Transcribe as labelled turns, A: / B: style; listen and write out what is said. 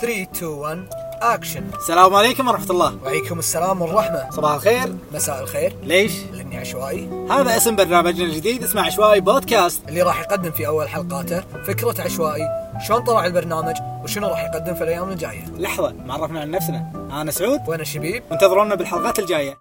A: 3 2 1 اكشن
B: السلام عليكم ورحمة الله
A: وعليكم السلام والرحمة
B: صباح الخير
A: مساء الخير
B: ليش؟
A: لاني عشوائي
B: هذا اسم برنامجنا الجديد اسمه عشوائي بودكاست
A: اللي راح يقدم في اول حلقاته فكرة عشوائي شلون طلع البرنامج وشنو راح يقدم في الايام الجاية
B: لحظة ما عرفنا عن نفسنا أنا سعود
A: وانا شبيب
B: وانتظرونا بالحلقات الجاية